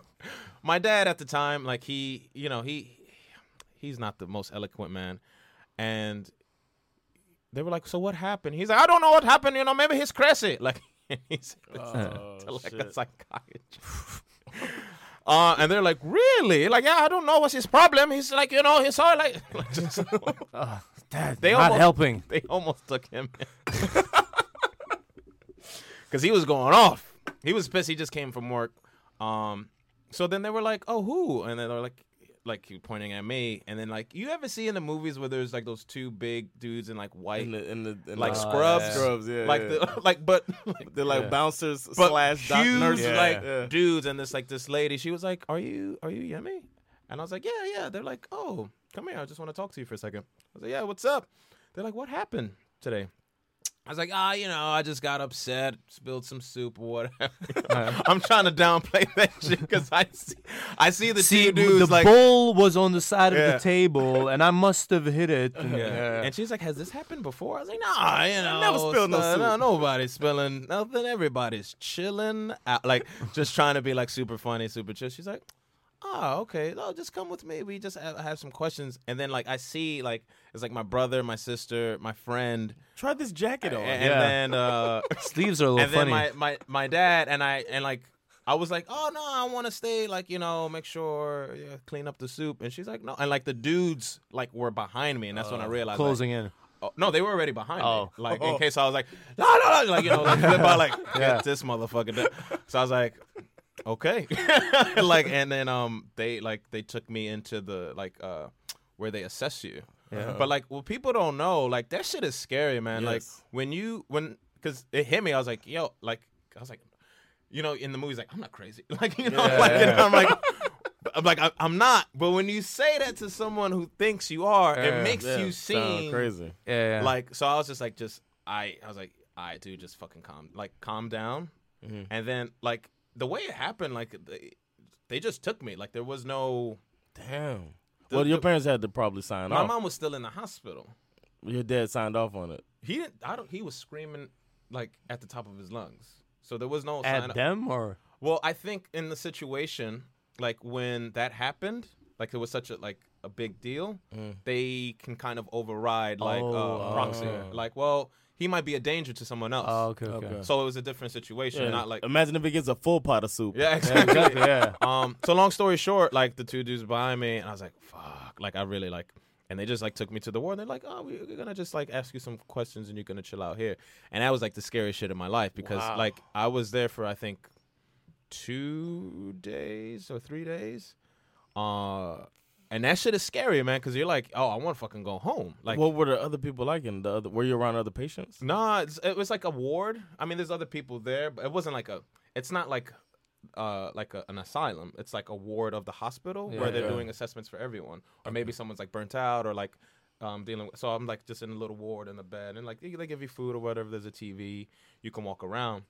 My dad at the time, like he, you know, he, he's not the most eloquent man, and they were like, "So what happened?" He's like, "I don't know what happened. You know, maybe he's crazy." Like he's
Uh,
Oh,
to like a
shit.
psychiatrist. uh, and they're like, "Really?" Like, yeah, I don't know what's his problem. He's like, you know, he's all like, like just,
Dad, not helping.
They almost took him because he was going off. He was pissed. He just came from work. Um, so then they were like, "Oh, who?" And then they're like, like you pointing at me. And then like, you ever see in the movies where there's like those two big dudes in like white,
In the in the in
like
the-
scrubs,
Scrubs, yeah.
like
yeah.
The, like but
they're like
Yeah.
bouncers
but
slash doc
huge
nurses.
like
Yeah.
dudes, and this like this lady, she was like, "Are you are you yummy?" And I was like, "Yeah, yeah." They're like, "Oh, come here. I just want to talk to you for a second. I was like, "Yeah, what's up?" They're like, "What happened today?" I was like, ah, you know, I just got upset, spilled some soup or whatever. I'm trying to downplay that shit because I see, I see the
See,
two dudes
the
like,
bowl was on the side of
Yeah.
the table, and I must have hit it.
yeah.
And,
And she's like, has this happened before? I was like, nah, you know,
never spilled no
uh,
soup.
No, nobody's spilling nothing. Everybody's chilling out, like just trying to be like super funny, super chill. She's like, oh, okay, no, just come with me. We just have, have some questions, and then like I see like it's like my brother, my sister, my friend,
Try this jacket
and,
on.
and
Yeah.
then uh,
Sleeves are a little
and then
funny.
my, my my dad and I and like I was like, oh no, I want to stay. Like you know, make sure yeah, clean up the soup. And she's like, no. And like the dudes like were behind me, and that's when I realized like,
Closing in.
Oh, no, they were already behind
Oh.
me. Like in case I was like, no, no, no, like you know, like flip out, like get this motherfucker. down. So I was like, okay, like and then um they like they took me into the like uh where they assess you. But like what people don't know, like that shit is scary, man. Like
Yes.
when you when because it hit me, I was like, yo, like I was like, you know, in the movies, like I'm not crazy, like you know, like you know, I'm like. I'm like I- I'm not, but when you say that to someone who thinks you are, it makes
Yeah,
you
sound
seem
crazy.
yeah, yeah.
like so i was just like just i i was like i dude just fucking calm like calm down
Mm-hmm.
and then like the way it happened like they, they just took me like there was no
Damn.
The-
well, your
the-
parents had to probably sign
my
off.
mom was still in the hospital
your dad signed off on it.
he didn't i don't he was screaming like at the top of his lungs so there was no sign
at
of-
them or
well i think in the situation like when that happened like it was such a like a big deal
Mm.
they can kind of override like
Oh,
uh, proxy
oh.
like well he might be a danger to someone else
oh, okay, okay.
Okay.
So it was a different situation,
Yeah.
not like
Imagine if it gets a full pot of soup.
yeah,
Yeah,
exactly.
exactly. Yeah.
um, so long story short, like the two dudes behind me, and I was like, fuck, like I really like, and they just like took me to the war, and they're like, oh, we- we're gonna just like ask you some questions, and you're gonna chill out here, and that was like the scariest shit in my life because
Wow.
like I was there for I think two days or three days, uh, and that shit is scary, man, because you're like, oh, I want to fucking go home, like.
what were the other people like? And the other, were you around other patients?
Nah, it's, it was like a ward. I mean, there's other people there, but it wasn't like a. It's not like, uh, like a, an asylum. It's like a ward of the hospital where they're
Okay.
doing assessments for everyone, or maybe someone's like burnt out or like, um, dealing. with... So I'm like just in a little ward in the bed, and like they, they give you food or whatever. There's a TV, you can walk around,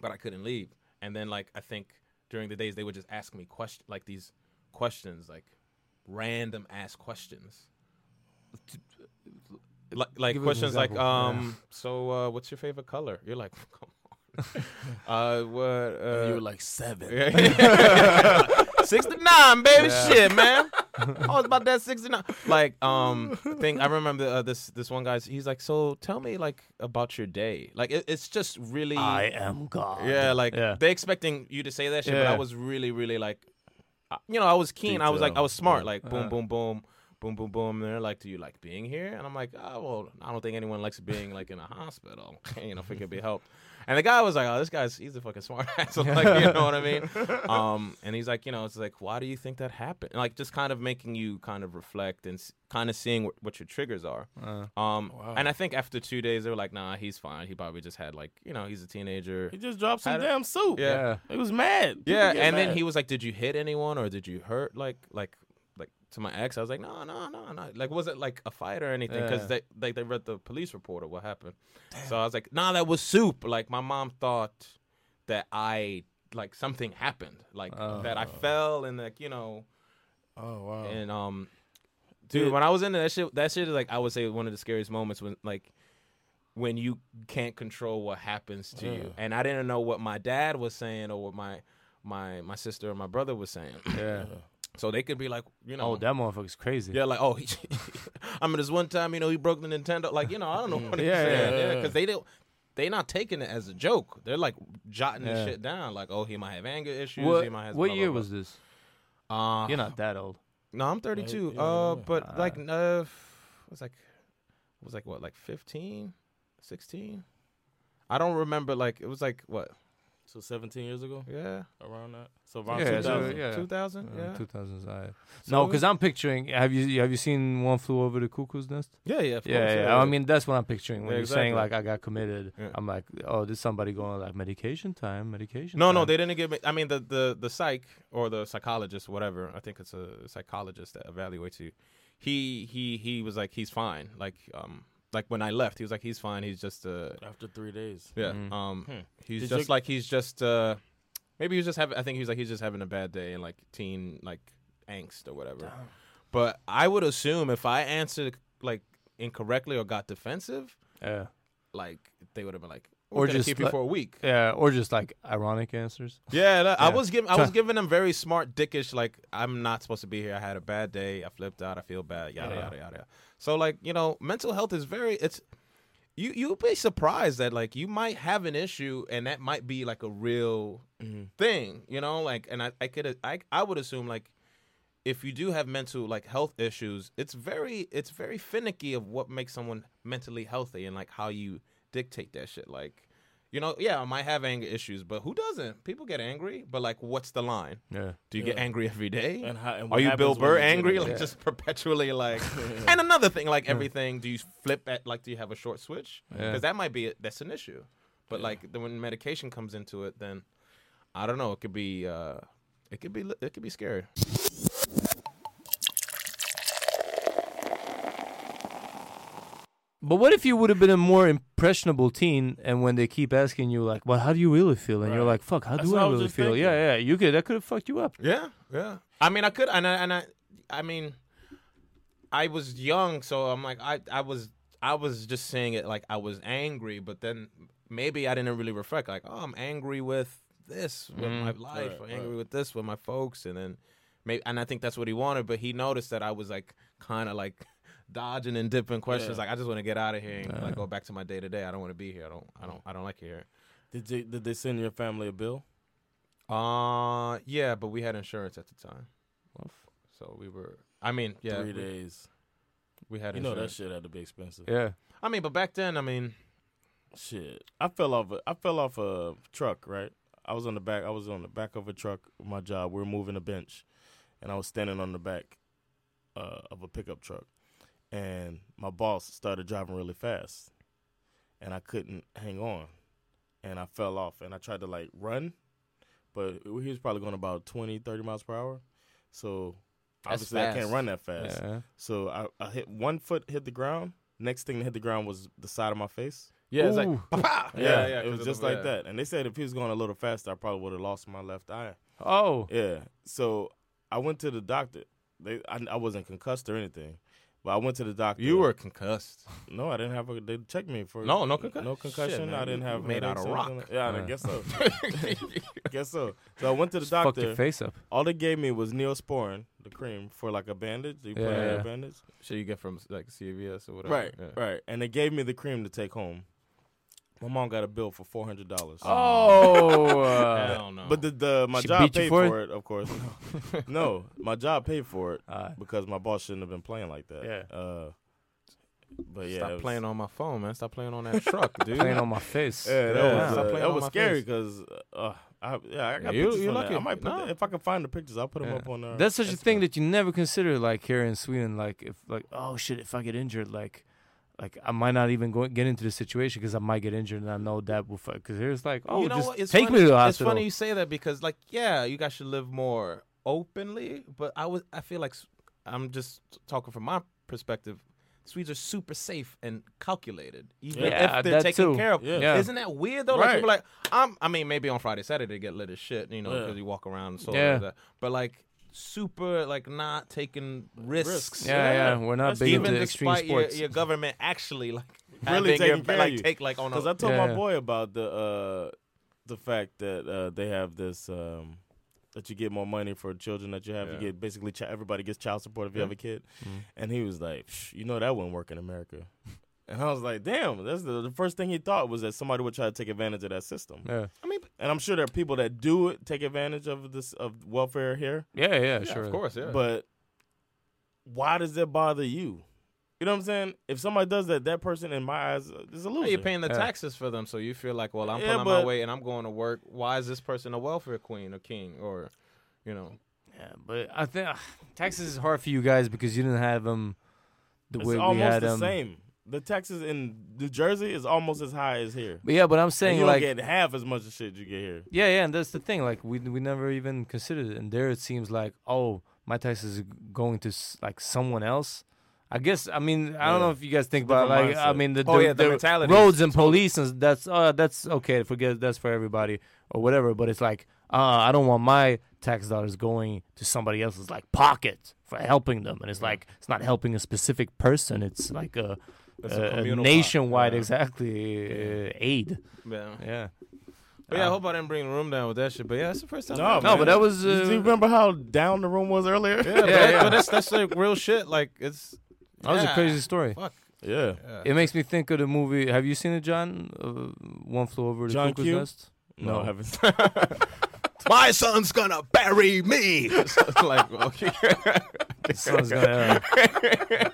but I couldn't leave. And then like I think during the days they would just ask me question like these questions, like random ass questions. Like, like
Give us an
questions like,
example.
um, so uh, what's your favorite color? You're like, come on. uh, what? Uh,
you were like, seven.
Six to nine, baby.
Yeah.
Shit, man. I was about that sixty nine. Like, um, thing I remember uh, this this one guy's. He's like, so tell me like about your day. Like, it, it's just really.
I am God.
Yeah, like
Yeah.
they expecting you to say that shit, but
Yeah.
I was really, really like, uh, you know, I was keen. I was like, I
Detail.
was smart. Like,
Uh-huh.
boom, boom, boom, boom, boom, boom. And they're like, do you like being here? And I'm like, oh, well, I don't think anyone likes being like in a hospital. you know, if it could be helped. And the guy was like, oh, this guy's he's a fucking smart ass. I'm like, you know what I mean? Um, and he's like, you know, it's like, why do you think that happened? Like, just kind of making you kind of reflect and s- kind of seeing what, what your triggers are.
Uh.
um,
Wow.
and I think after two days, they were like, nah, he's fine. He probably just had like, you know, he's a teenager.
He just dropped some
Had a-
damn soup.
Yeah.
He was mad. People
yeah,
get
and
mad.
then he was like, "Did you hit anyone or did you hurt like like like to my ex?" I was like, "No, no, no, no. Like was it like a fight or anything?" Because
Yeah.
they like they read the police report of what happened. So I was like, "Nah, that was soup." Like my mom thought that I like something happened, like that I
Oh.
fell and like you know.
Oh wow.
And um, dude, when I was in that shit, that shit is like I would say one of the scariest moments when like when you can't control what happens to
Yeah.
you. And I didn't know what my dad was saying or what my my my sister or my brother was saying.
Yeah.
So they could be like, you know,
Oh, that motherfucker's crazy.
yeah, like oh, he, I mean, this one time, you know, he broke the Nintendo. Like, you know, I don't know what he's
Mm. Yeah,
saying
yeah, yeah.
because they don't. They not taking it as a joke. They're like jotting
Yeah.
the shit down. Like, oh, he might have anger issues.
What-
he might have
what
blah, blah,
year
blah.
was this?
Uh,
You're not that old.
No, I'm 32. uh, but like, uh, it was like, it was like what, like 15, 16? I don't remember. Like, it was like what?
So 17 years ago?
Yeah.
Around that. So around
Yeah,
2000.
so, yeah. Uh,
2000, yeah.
Two thousands. I
So
no,
it
because
was-
I'm picturing. Have you have you seen One Flew Over the Cuckoo's Nest?
Yeah, yeah, of
yeah,
course,
yeah.
yeah,
I
yeah.
mean, that's what I'm picturing when
Yeah,
you're saying like
exactly.
I got committed.
Yeah.
I'm like, oh, there's somebody going like medication time, medication.
No, no,
time.
they didn't give me. I mean, the the the psych or the psychologist, whatever. I think it's a psychologist that evaluates you. He he he was like, he's fine. Like um, like when I left, he was like, he's fine. He's just uh,
After three days.
yeah.
Mhm.
Um,
Hmm.
he's
Did
just
you-
like he's just uh, maybe he was just having. I think he was like he's just having a bad day and like teen like angst or whatever. But I would assume if I answered like incorrectly or got defensive,
Yeah.
like they would have been like, we're gonna keep you
like-
for a week.
Yeah, or just like ironic answers.
Yeah, that, I
Yeah.
was giving I
Try-
was giving them very smart dickish like I'm not supposed to be here. I had a bad day. I flipped out. I feel bad. Yada
Uh-huh.
Yeah.
yada yada. So like you know, mental health is very it's you you'll be surprised that like you might have an issue and that might be like a real
Mm-hmm.
thing. You know, like and I I could I I would assume like if you do have mental like health issues, it's very it's very finicky of what makes someone mentally healthy and like how you dictate that shit. Like, you know, yeah, I might have anger issues, but who doesn't? People get angry, but like, what's the line?
Yeah.
Do you get
Yeah.
angry every day?
And how- and
are
what
you Bill
happens when
Burr
you get
angry?
it?
Like
Yeah.
just perpetually like. and another thing, like everything, do you flip at like do you have a short switch?
Yeah.
Because that might be that's an issue. But like the, when medication comes into it, then I don't know. It could be uh, it could be li- it could be scary.
But what if you would have been a more impressionable teen, and when they keep asking you like, "Well, how do you really feel?" and you're like, "Fuck, how
That's
do
what
I
I was
really
just
feel?"
thinking.
Yeah, yeah, you could that could have fucked you up.
Yeah, yeah. I mean, I could, and I, and I, I mean, I was young, so I'm like, I, I was, I was just saying it like I was angry, but then maybe I didn't really reflect, like, oh, I'm angry with this with
Mm.
my
Right,
life, I'm
right.
angry with this with my folks, and then maybe, and I think that's what he wanted, but he noticed that I was like, kind of like. Dodging and dipping questions,
Yeah.
like I just want to get out of here and like go back to my day to day. I don't want to be here. I don't. I don't. I don't like it here.
Did they, did they send your family a bill?
Uh yeah, but we had insurance at the time. So we were I mean, yeah.
Three
we,
days.
we had
You know that
insurance.
shit had to be expensive.
Yeah.
I mean, but back then, I mean,
Shit. I fell off. A, I fell off a truck. Right. I was on the back. I was on the back of a truck. with My job. We were moving a bench, and I was standing on the back uh, of a pickup truck, and my boss started driving really fast, and I couldn't hang on, and I fell off, and I tried to like run, but he was probably going about 20, 30 miles per hour, so
That's
obviously I can't
fast.
run that fast.
Yeah.
So I, I hit one foot hit the ground. Next thing that hit the ground was the side of my face.
yeah, it's
Ooh.
like pa
Yeah,
Yeah, yeah,
It
'cause
was
of
just
the-
like
yeah.
that. And they said if he was going a little faster, I probably would have lost my left eye.
Oh,
Yeah. So I went to the doctor. They, I, I wasn't concussed or anything, but I went to the doctor.
You were concussed.
No, I didn't have a. They checked me for
No, no concussion.
No concussion.
Shit, man,
I didn't
you
have
made out
headaches
of
or
rock.
nothing. Yeah, I
Uh.
guess so. guess so. So I went to the
Just fuck
doctor.
your face up.
All they gave me was Neosporin, the cream, for like a bandage. You put on
Yeah.
a bandage.
Shit you get from like CVS or whatever.
Right,
Yeah.
right. And they gave me the cream to take home. My mom got a bill for four hundred dollars.
Oh, uh, Hell no.
But the, the my
She
job
beat you
paid
for
for
it?
it? of course. no, my job paid for it because my boss shouldn't have been playing like that. Yeah. Uh, but yeah,
Stop
it was-
playing on my phone, man. Stop playing on that truck, dude.
Playing on my
face.
Yeah, that was
Stop
uh,
playing
that
on
was
my
scary
face.
because uh, I yeah I
Yeah,
got
you-
pictures
you're
from that.
lucky.
I might put
No.
the- if I can find the pictures, I'll put them
Yeah.
up on. Uh,
That's such a thing that you never consider, like here in Sweden, like if like oh shit, if I get injured, like like I might not even go get into the situation because I might get injured, and I know that will because here's like oh
you know
just
what? It's
take
funny.
me to the
It's
hospital.
funny you say that because, like, yeah, you guys should live more openly. But I was, I feel like s- I'm just talking from my perspective. Swedes are super safe and calculated, even
Yeah,
if they're
that
taken
too.
care of.
Yeah.
Isn't that weird though? Like
Right.
people are like, I'm, I mean, maybe on Friday, Saturday they get lit as shit, you know,
Yeah.
because you walk around and so
Yeah.
like that. But like. Super, like not taking risks.
Yeah, yeah, we're not big
Even
into extreme
despite your-
sports.
Your, government actually like
really
having your
taking
ba-
care
like
of you.
take like on a-
Because I told my boy about the uh, the fact that uh, they have this um, that you get more money for children that you have.
Yeah.
You get basically chi- everybody gets child support if you
Yeah.
have a kid,
Mm-hmm.
Mhm.
and he was like, "Psh, "You know that wouldn't work in America." And I was like, "Damn!" That's the, the first thing he thought was that somebody would try to take advantage of that system.
Yeah.
I mean,
and I'm sure there are people that do it, take advantage of this of welfare here.
Yeah, yeah, Yeah, of sure. course, yeah.
But why does that bother you? You know what I'm saying? If somebody does that, that person in my eyes uh, is a loser.
Hey, you're paying the
Yeah.
taxes for them, so you feel like, well, I'm
Yeah,
putting on my
but-
way and I'm going to work. Why is this person a welfare queen or king or, you know?
Yeah, but I think taxes is hard for you guys because you didn't have them the
It's
way we
almost
had
the
them.
same. The taxes in New Jersey is almost as high as here.
But yeah, but I'm
And
saying,
you
like-
don't get half as much shit you get here.
Yeah, yeah, and that's the thing. Like we we never even considered it, and there it seems like oh my taxes are going to s- like someone else. I guess I mean I don't know if you guys think about
Different
like I
mindset.
mean the,
Oh,
the-
yeah, the
the
mentality is
roads and police and that's uh, that's okay forget that's for everybody or whatever. But it's like uh, I don't want my tax dollars going to somebody else's like pocket for helping them, and it's like it's not helping a specific person. It's like a,
It's a
a- a
communal pot,
nationwide
yeah.
exactly uh, aid.
Yeah.
yeah.
But yeah, I hope I didn't bring the room down with that shit. But yeah, that's the first time.
No,
I've-
man. Do
uh,
you remember how down the room was earlier?
Yeah, but, that- but that's that's like real shit. Like it's.
That was
yeah,
a crazy story.
Fuck.
It makes me think of the movie. Have you seen it, John? Uh, One flew over the
John
cuckoo's
Q?
nest.
No, I haven't.
My son's gonna bury me.
like, okay.
Sounds good, yeah.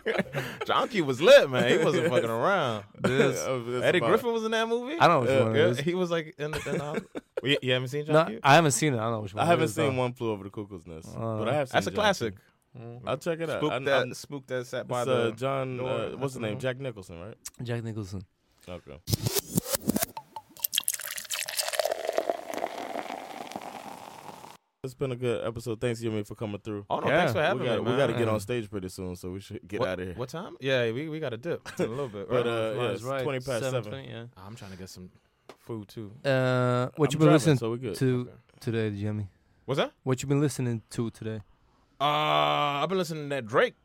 John Q was lit, man. He wasn't fucking around.
This-
Eddie Griffin was in that movie.
I don't know which one it
yeah,
is.
He was like in the. In the Well, you, you haven't seen John
No,
Q?
I haven't seen it. I don't know which one.
I
it
haven't
is,
seen
though.
One Flew Over the Cuckoo's Nest,
Uh,
but I have. Seen
uh, uh-huh. That's a
John
classic. Mm-hmm.
Q. I'll check it out.
Spook
I-
that,
I'm-
spook that sat
it's,
by
uh,
the
John.
door.
Uh, what's the name?
Mhm.
Jack Nicholson, right?
Jack Nicholson.
Okay. It's been a good episode. Thanks, Yumi, for coming through.
Oh, no, Yeah. thanks for having
we gotta,
me,
We got to
man.
get on stage pretty soon, so we should get
What-
out of here.
What time? Yeah, we, we got to dip in a little bit.
But,
right?
uh, yeah, it's
right.
20 past 7.
7:20, yeah.
I'm trying to get some food too.
Uh, what
I'm
you been
driving,
listening
so we good.
to today, Jimmy?
What's that?
What you been listening to today?
Uh, I've been listening to that Drake.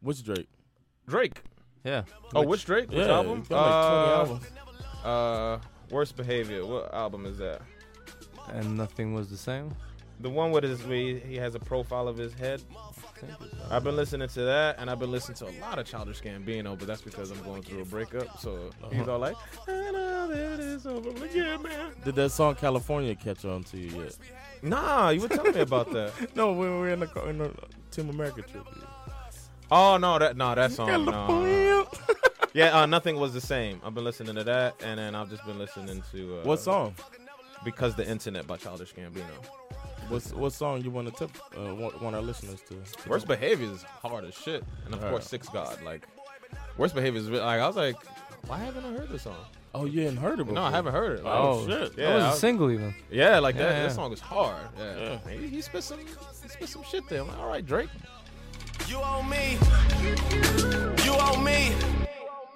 Which Drake?
Drake.
Yeah.
Oh, which Drake? Which
Yeah,
album?
he's got like 20
Uh, uh, Worst Behavior. What album is that?
And nothing was the same.
The one with his where he- he has a profile of his head. I've been listening to that, and I've been listening to a lot of Childish Gambino, but that's because I'm going through a breakup. So
Uh-huh.
he's all like, "I know that it's over again, man."
Did that song California catch on to you yet?
Nah, you were telling me about that.
no, we were in the, car- in the Team America trip.
Oh no, that no, that song. no,
California.
No, yeah, uh, nothing was the same. I've been listening to that, and then I've just been listening to uh,
What song?
Because the Internet by Childish Gambino.
What's what song you want to tip? Uh, want, want our listeners to? to
Worst
know?
Behavior is hard as shit, and of
Yeah.
course Six God. Like Worst Behavior is re- like I was like, why haven't I heard this song?
Oh, you hadn't heard it before.
No, I haven't heard it. Like,
Oh, shit.
Yeah,
that was
I
a
was-
single even.
Yeah, like that.
Yeah, yeah.
That song is hard. Yeah, He, he spit some, he spit some shit there. I'm like, all right, Drake.
You owe me. You owe me.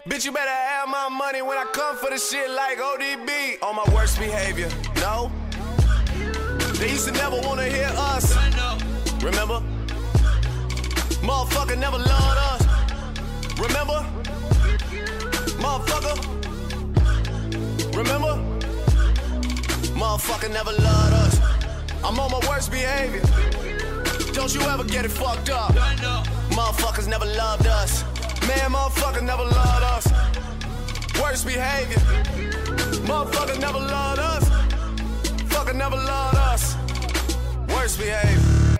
Bitch, you better have my money when I come for the shit like ODB. On my worst behavior. No. They used to never want to hear us. Remember? Motherfucker never loved us. Remember? Motherfucker. Remember? Motherfucker never loved us. I'm on my worst behavior. Don't you ever get it fucked up. Motherfuckers never loved us. Man, motherfuckers never loved us. Worst behavior. Motherfucker never loved us. Fucker never loved us. Worst behavior.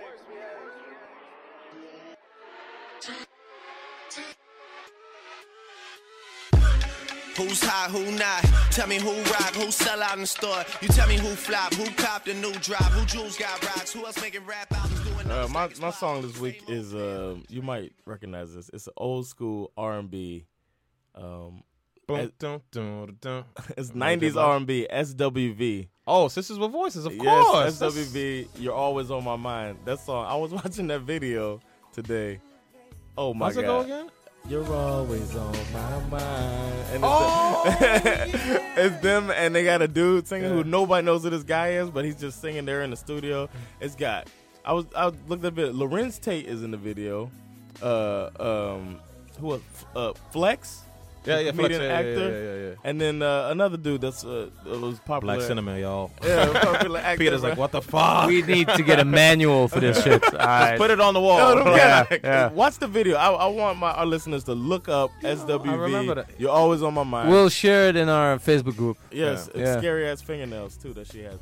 Who's hot, who not? Tell me who rock, who sell out in the store. You tell me who flop, who cop the new drop, who jewels got rocks, who else making rap albums doing
Uh, my my song this week is uh, you might recognize this. It's an old school R and B. Um,
Boom,
as-
dum, dum, dum.
it's nineties R and B. SWV.
Oh, Sisters with Voices, of
yes,
course. That's-
SWV. You're always on my mind. That song. I was watching that video today. Oh my
How's
god.
it go again?
You're always on my mind. And it's,
Oh,
it's them and they got a dude singing who nobody knows who this guy is, but he's just singing there in the studio. It's got I was I looked up it. Lorenz Tate is in the video. Uh um who else? uh Flex?
Yeah,
the
yeah,
comedian
Flex, yeah, yeah,
actor.
yeah, yeah, yeah.
And then uh, another dude that's uh, that was popular.
Black Cinema, y'all.
Yeah, popular actor,
Peter's
bro.
like, what the fuck?
We need to get a manual for this shit. All right.
Just put it on the wall.
No, don't
Yeah,
get it.
yeah. Watch the video. I, I want my our listeners to look up SWV.
I remember that.
You're always on my mind.
We'll share it in our Facebook group.
Yes, it's
Yeah.
scary ass fingernails too that she has.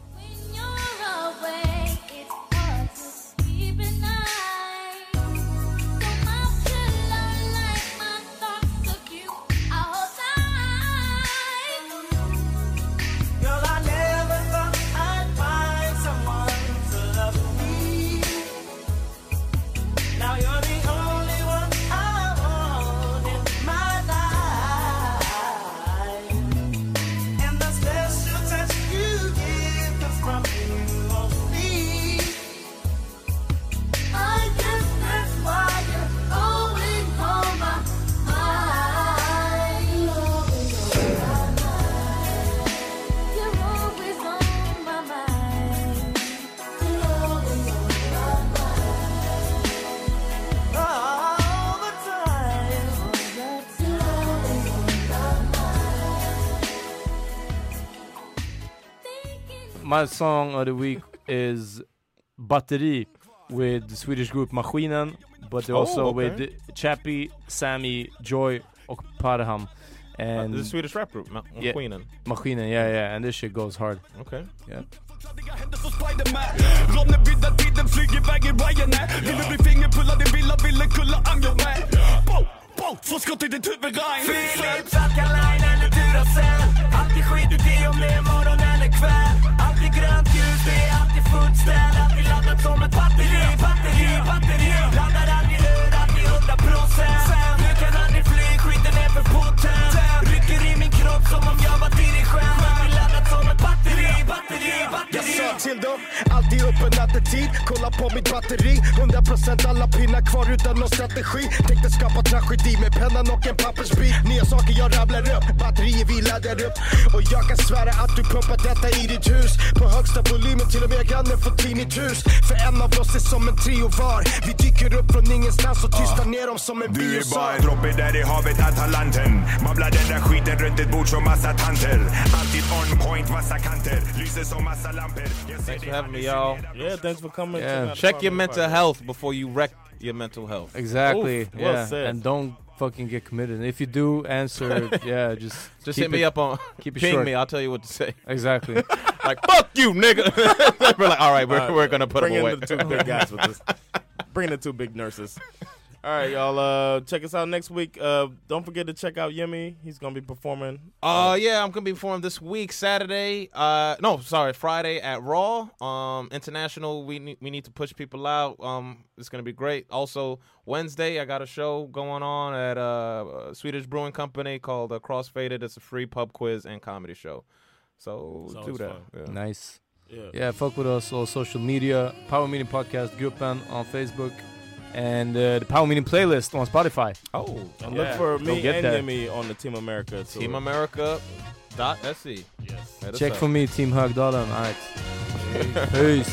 Now you're the only one I want in my life. And the special touch you give comes from you only. I guess that's why you're always on my mind. You're always on my mind. You're always on my mind. You're always on my mind. All the time. You're always on my mind.
My song of the week is Batteri with the Swedish group Maskinen, but
Oh,
also
okay.
with Chappie, Sammy, Joy, och Parham. And
the Swedish rap group, Ma-
yeah,
Maskinen.
Maskinen, yeah, yeah. And this shit goes hard.
Okay.
Yeah.
Låt mig bidda tiden, flyg iväg i Ryanair Vill du bli fingerpullad i villa, ville kulla ang jag med Bow, bow, två skott i ditt huvud Ryan
Filip Zackarline eller Duracell Alltid skit ut i om det är morgon eller kväll Alltid grönt ljus, det är alltid fullt ställ Alltid laddat som ett batteri, batteri, batteri Laddar aldrig rör, alltid hundra procent Du kan aldrig fly, skiten är för potent Rycker i min kropp som om jag var dirigent Alltid laddat som ett batteri, batteri,
Jag
batteri
sa till dem, alltid uppe nattetid Kolla på mitt batteri 100% alla pinnar kvar utan någon strategi Tänkte skapa tragedi med pennan och en pappersbit Nya saker jag rabblar upp, batterier vi laddar upp Och jag kan svära att du pumpat detta i ditt hus På högsta volymen, till och med grannen får tinnitus För en av oss är som en trio var Vi dyker upp från ingenstans och tystar ner dem som en
Ah. Du är bara
biosal
en droppe där i havet Atalanten Babblar den där skiten runt ett bord som massa tanter Alltid on point, massa kanter Lyser som massa lampor Jag ser
Thanks for having me, y'all.
Yeah, thanks for coming.
Yeah.
another
Check your
Podcast.
mental health before you wreck your mental health.
Exactly.
Oof, well
yeah.
said.
And don't fucking get committed. And if you do answer, yeah, just
Just
keep
hit me
it-
up on
keep it
ping
short.
me. I'll tell you what to say.
Exactly.
like fuck you, nigga. we're like, all right, we're,
All right,
we're gonna put
bring
him away.
in the two big guys with this. Bring in the two big nurses. All right, y'all. Uh, check us out next week. Uh, don't forget to check out Yemi. He's gonna be performing.
Uh, yeah, I'm gonna be performing this week, Saturday. Uh, no, sorry, Friday at Raw. Um, international. We need we need to push people out. Um, it's gonna be great. Also, Wednesday, I got a show going on at uh Swedish Brewing Company called uh, Crossfaded. It's a free pub quiz and comedy show. So
Sounds
do that.
fun.
Yeah.
Nice.
Yeah.
Yeah, fuck with us on social media. Power Meeting Podcast Gruppen on Facebook. And uh, the Power Meeting playlist on Spotify.
Oh,
And look for me and Yemi on the Team America. tour.
Team America. Dot E. se. Yes. Hit us
Check
up.
for me, Team Hug Dollar. All right. Peace.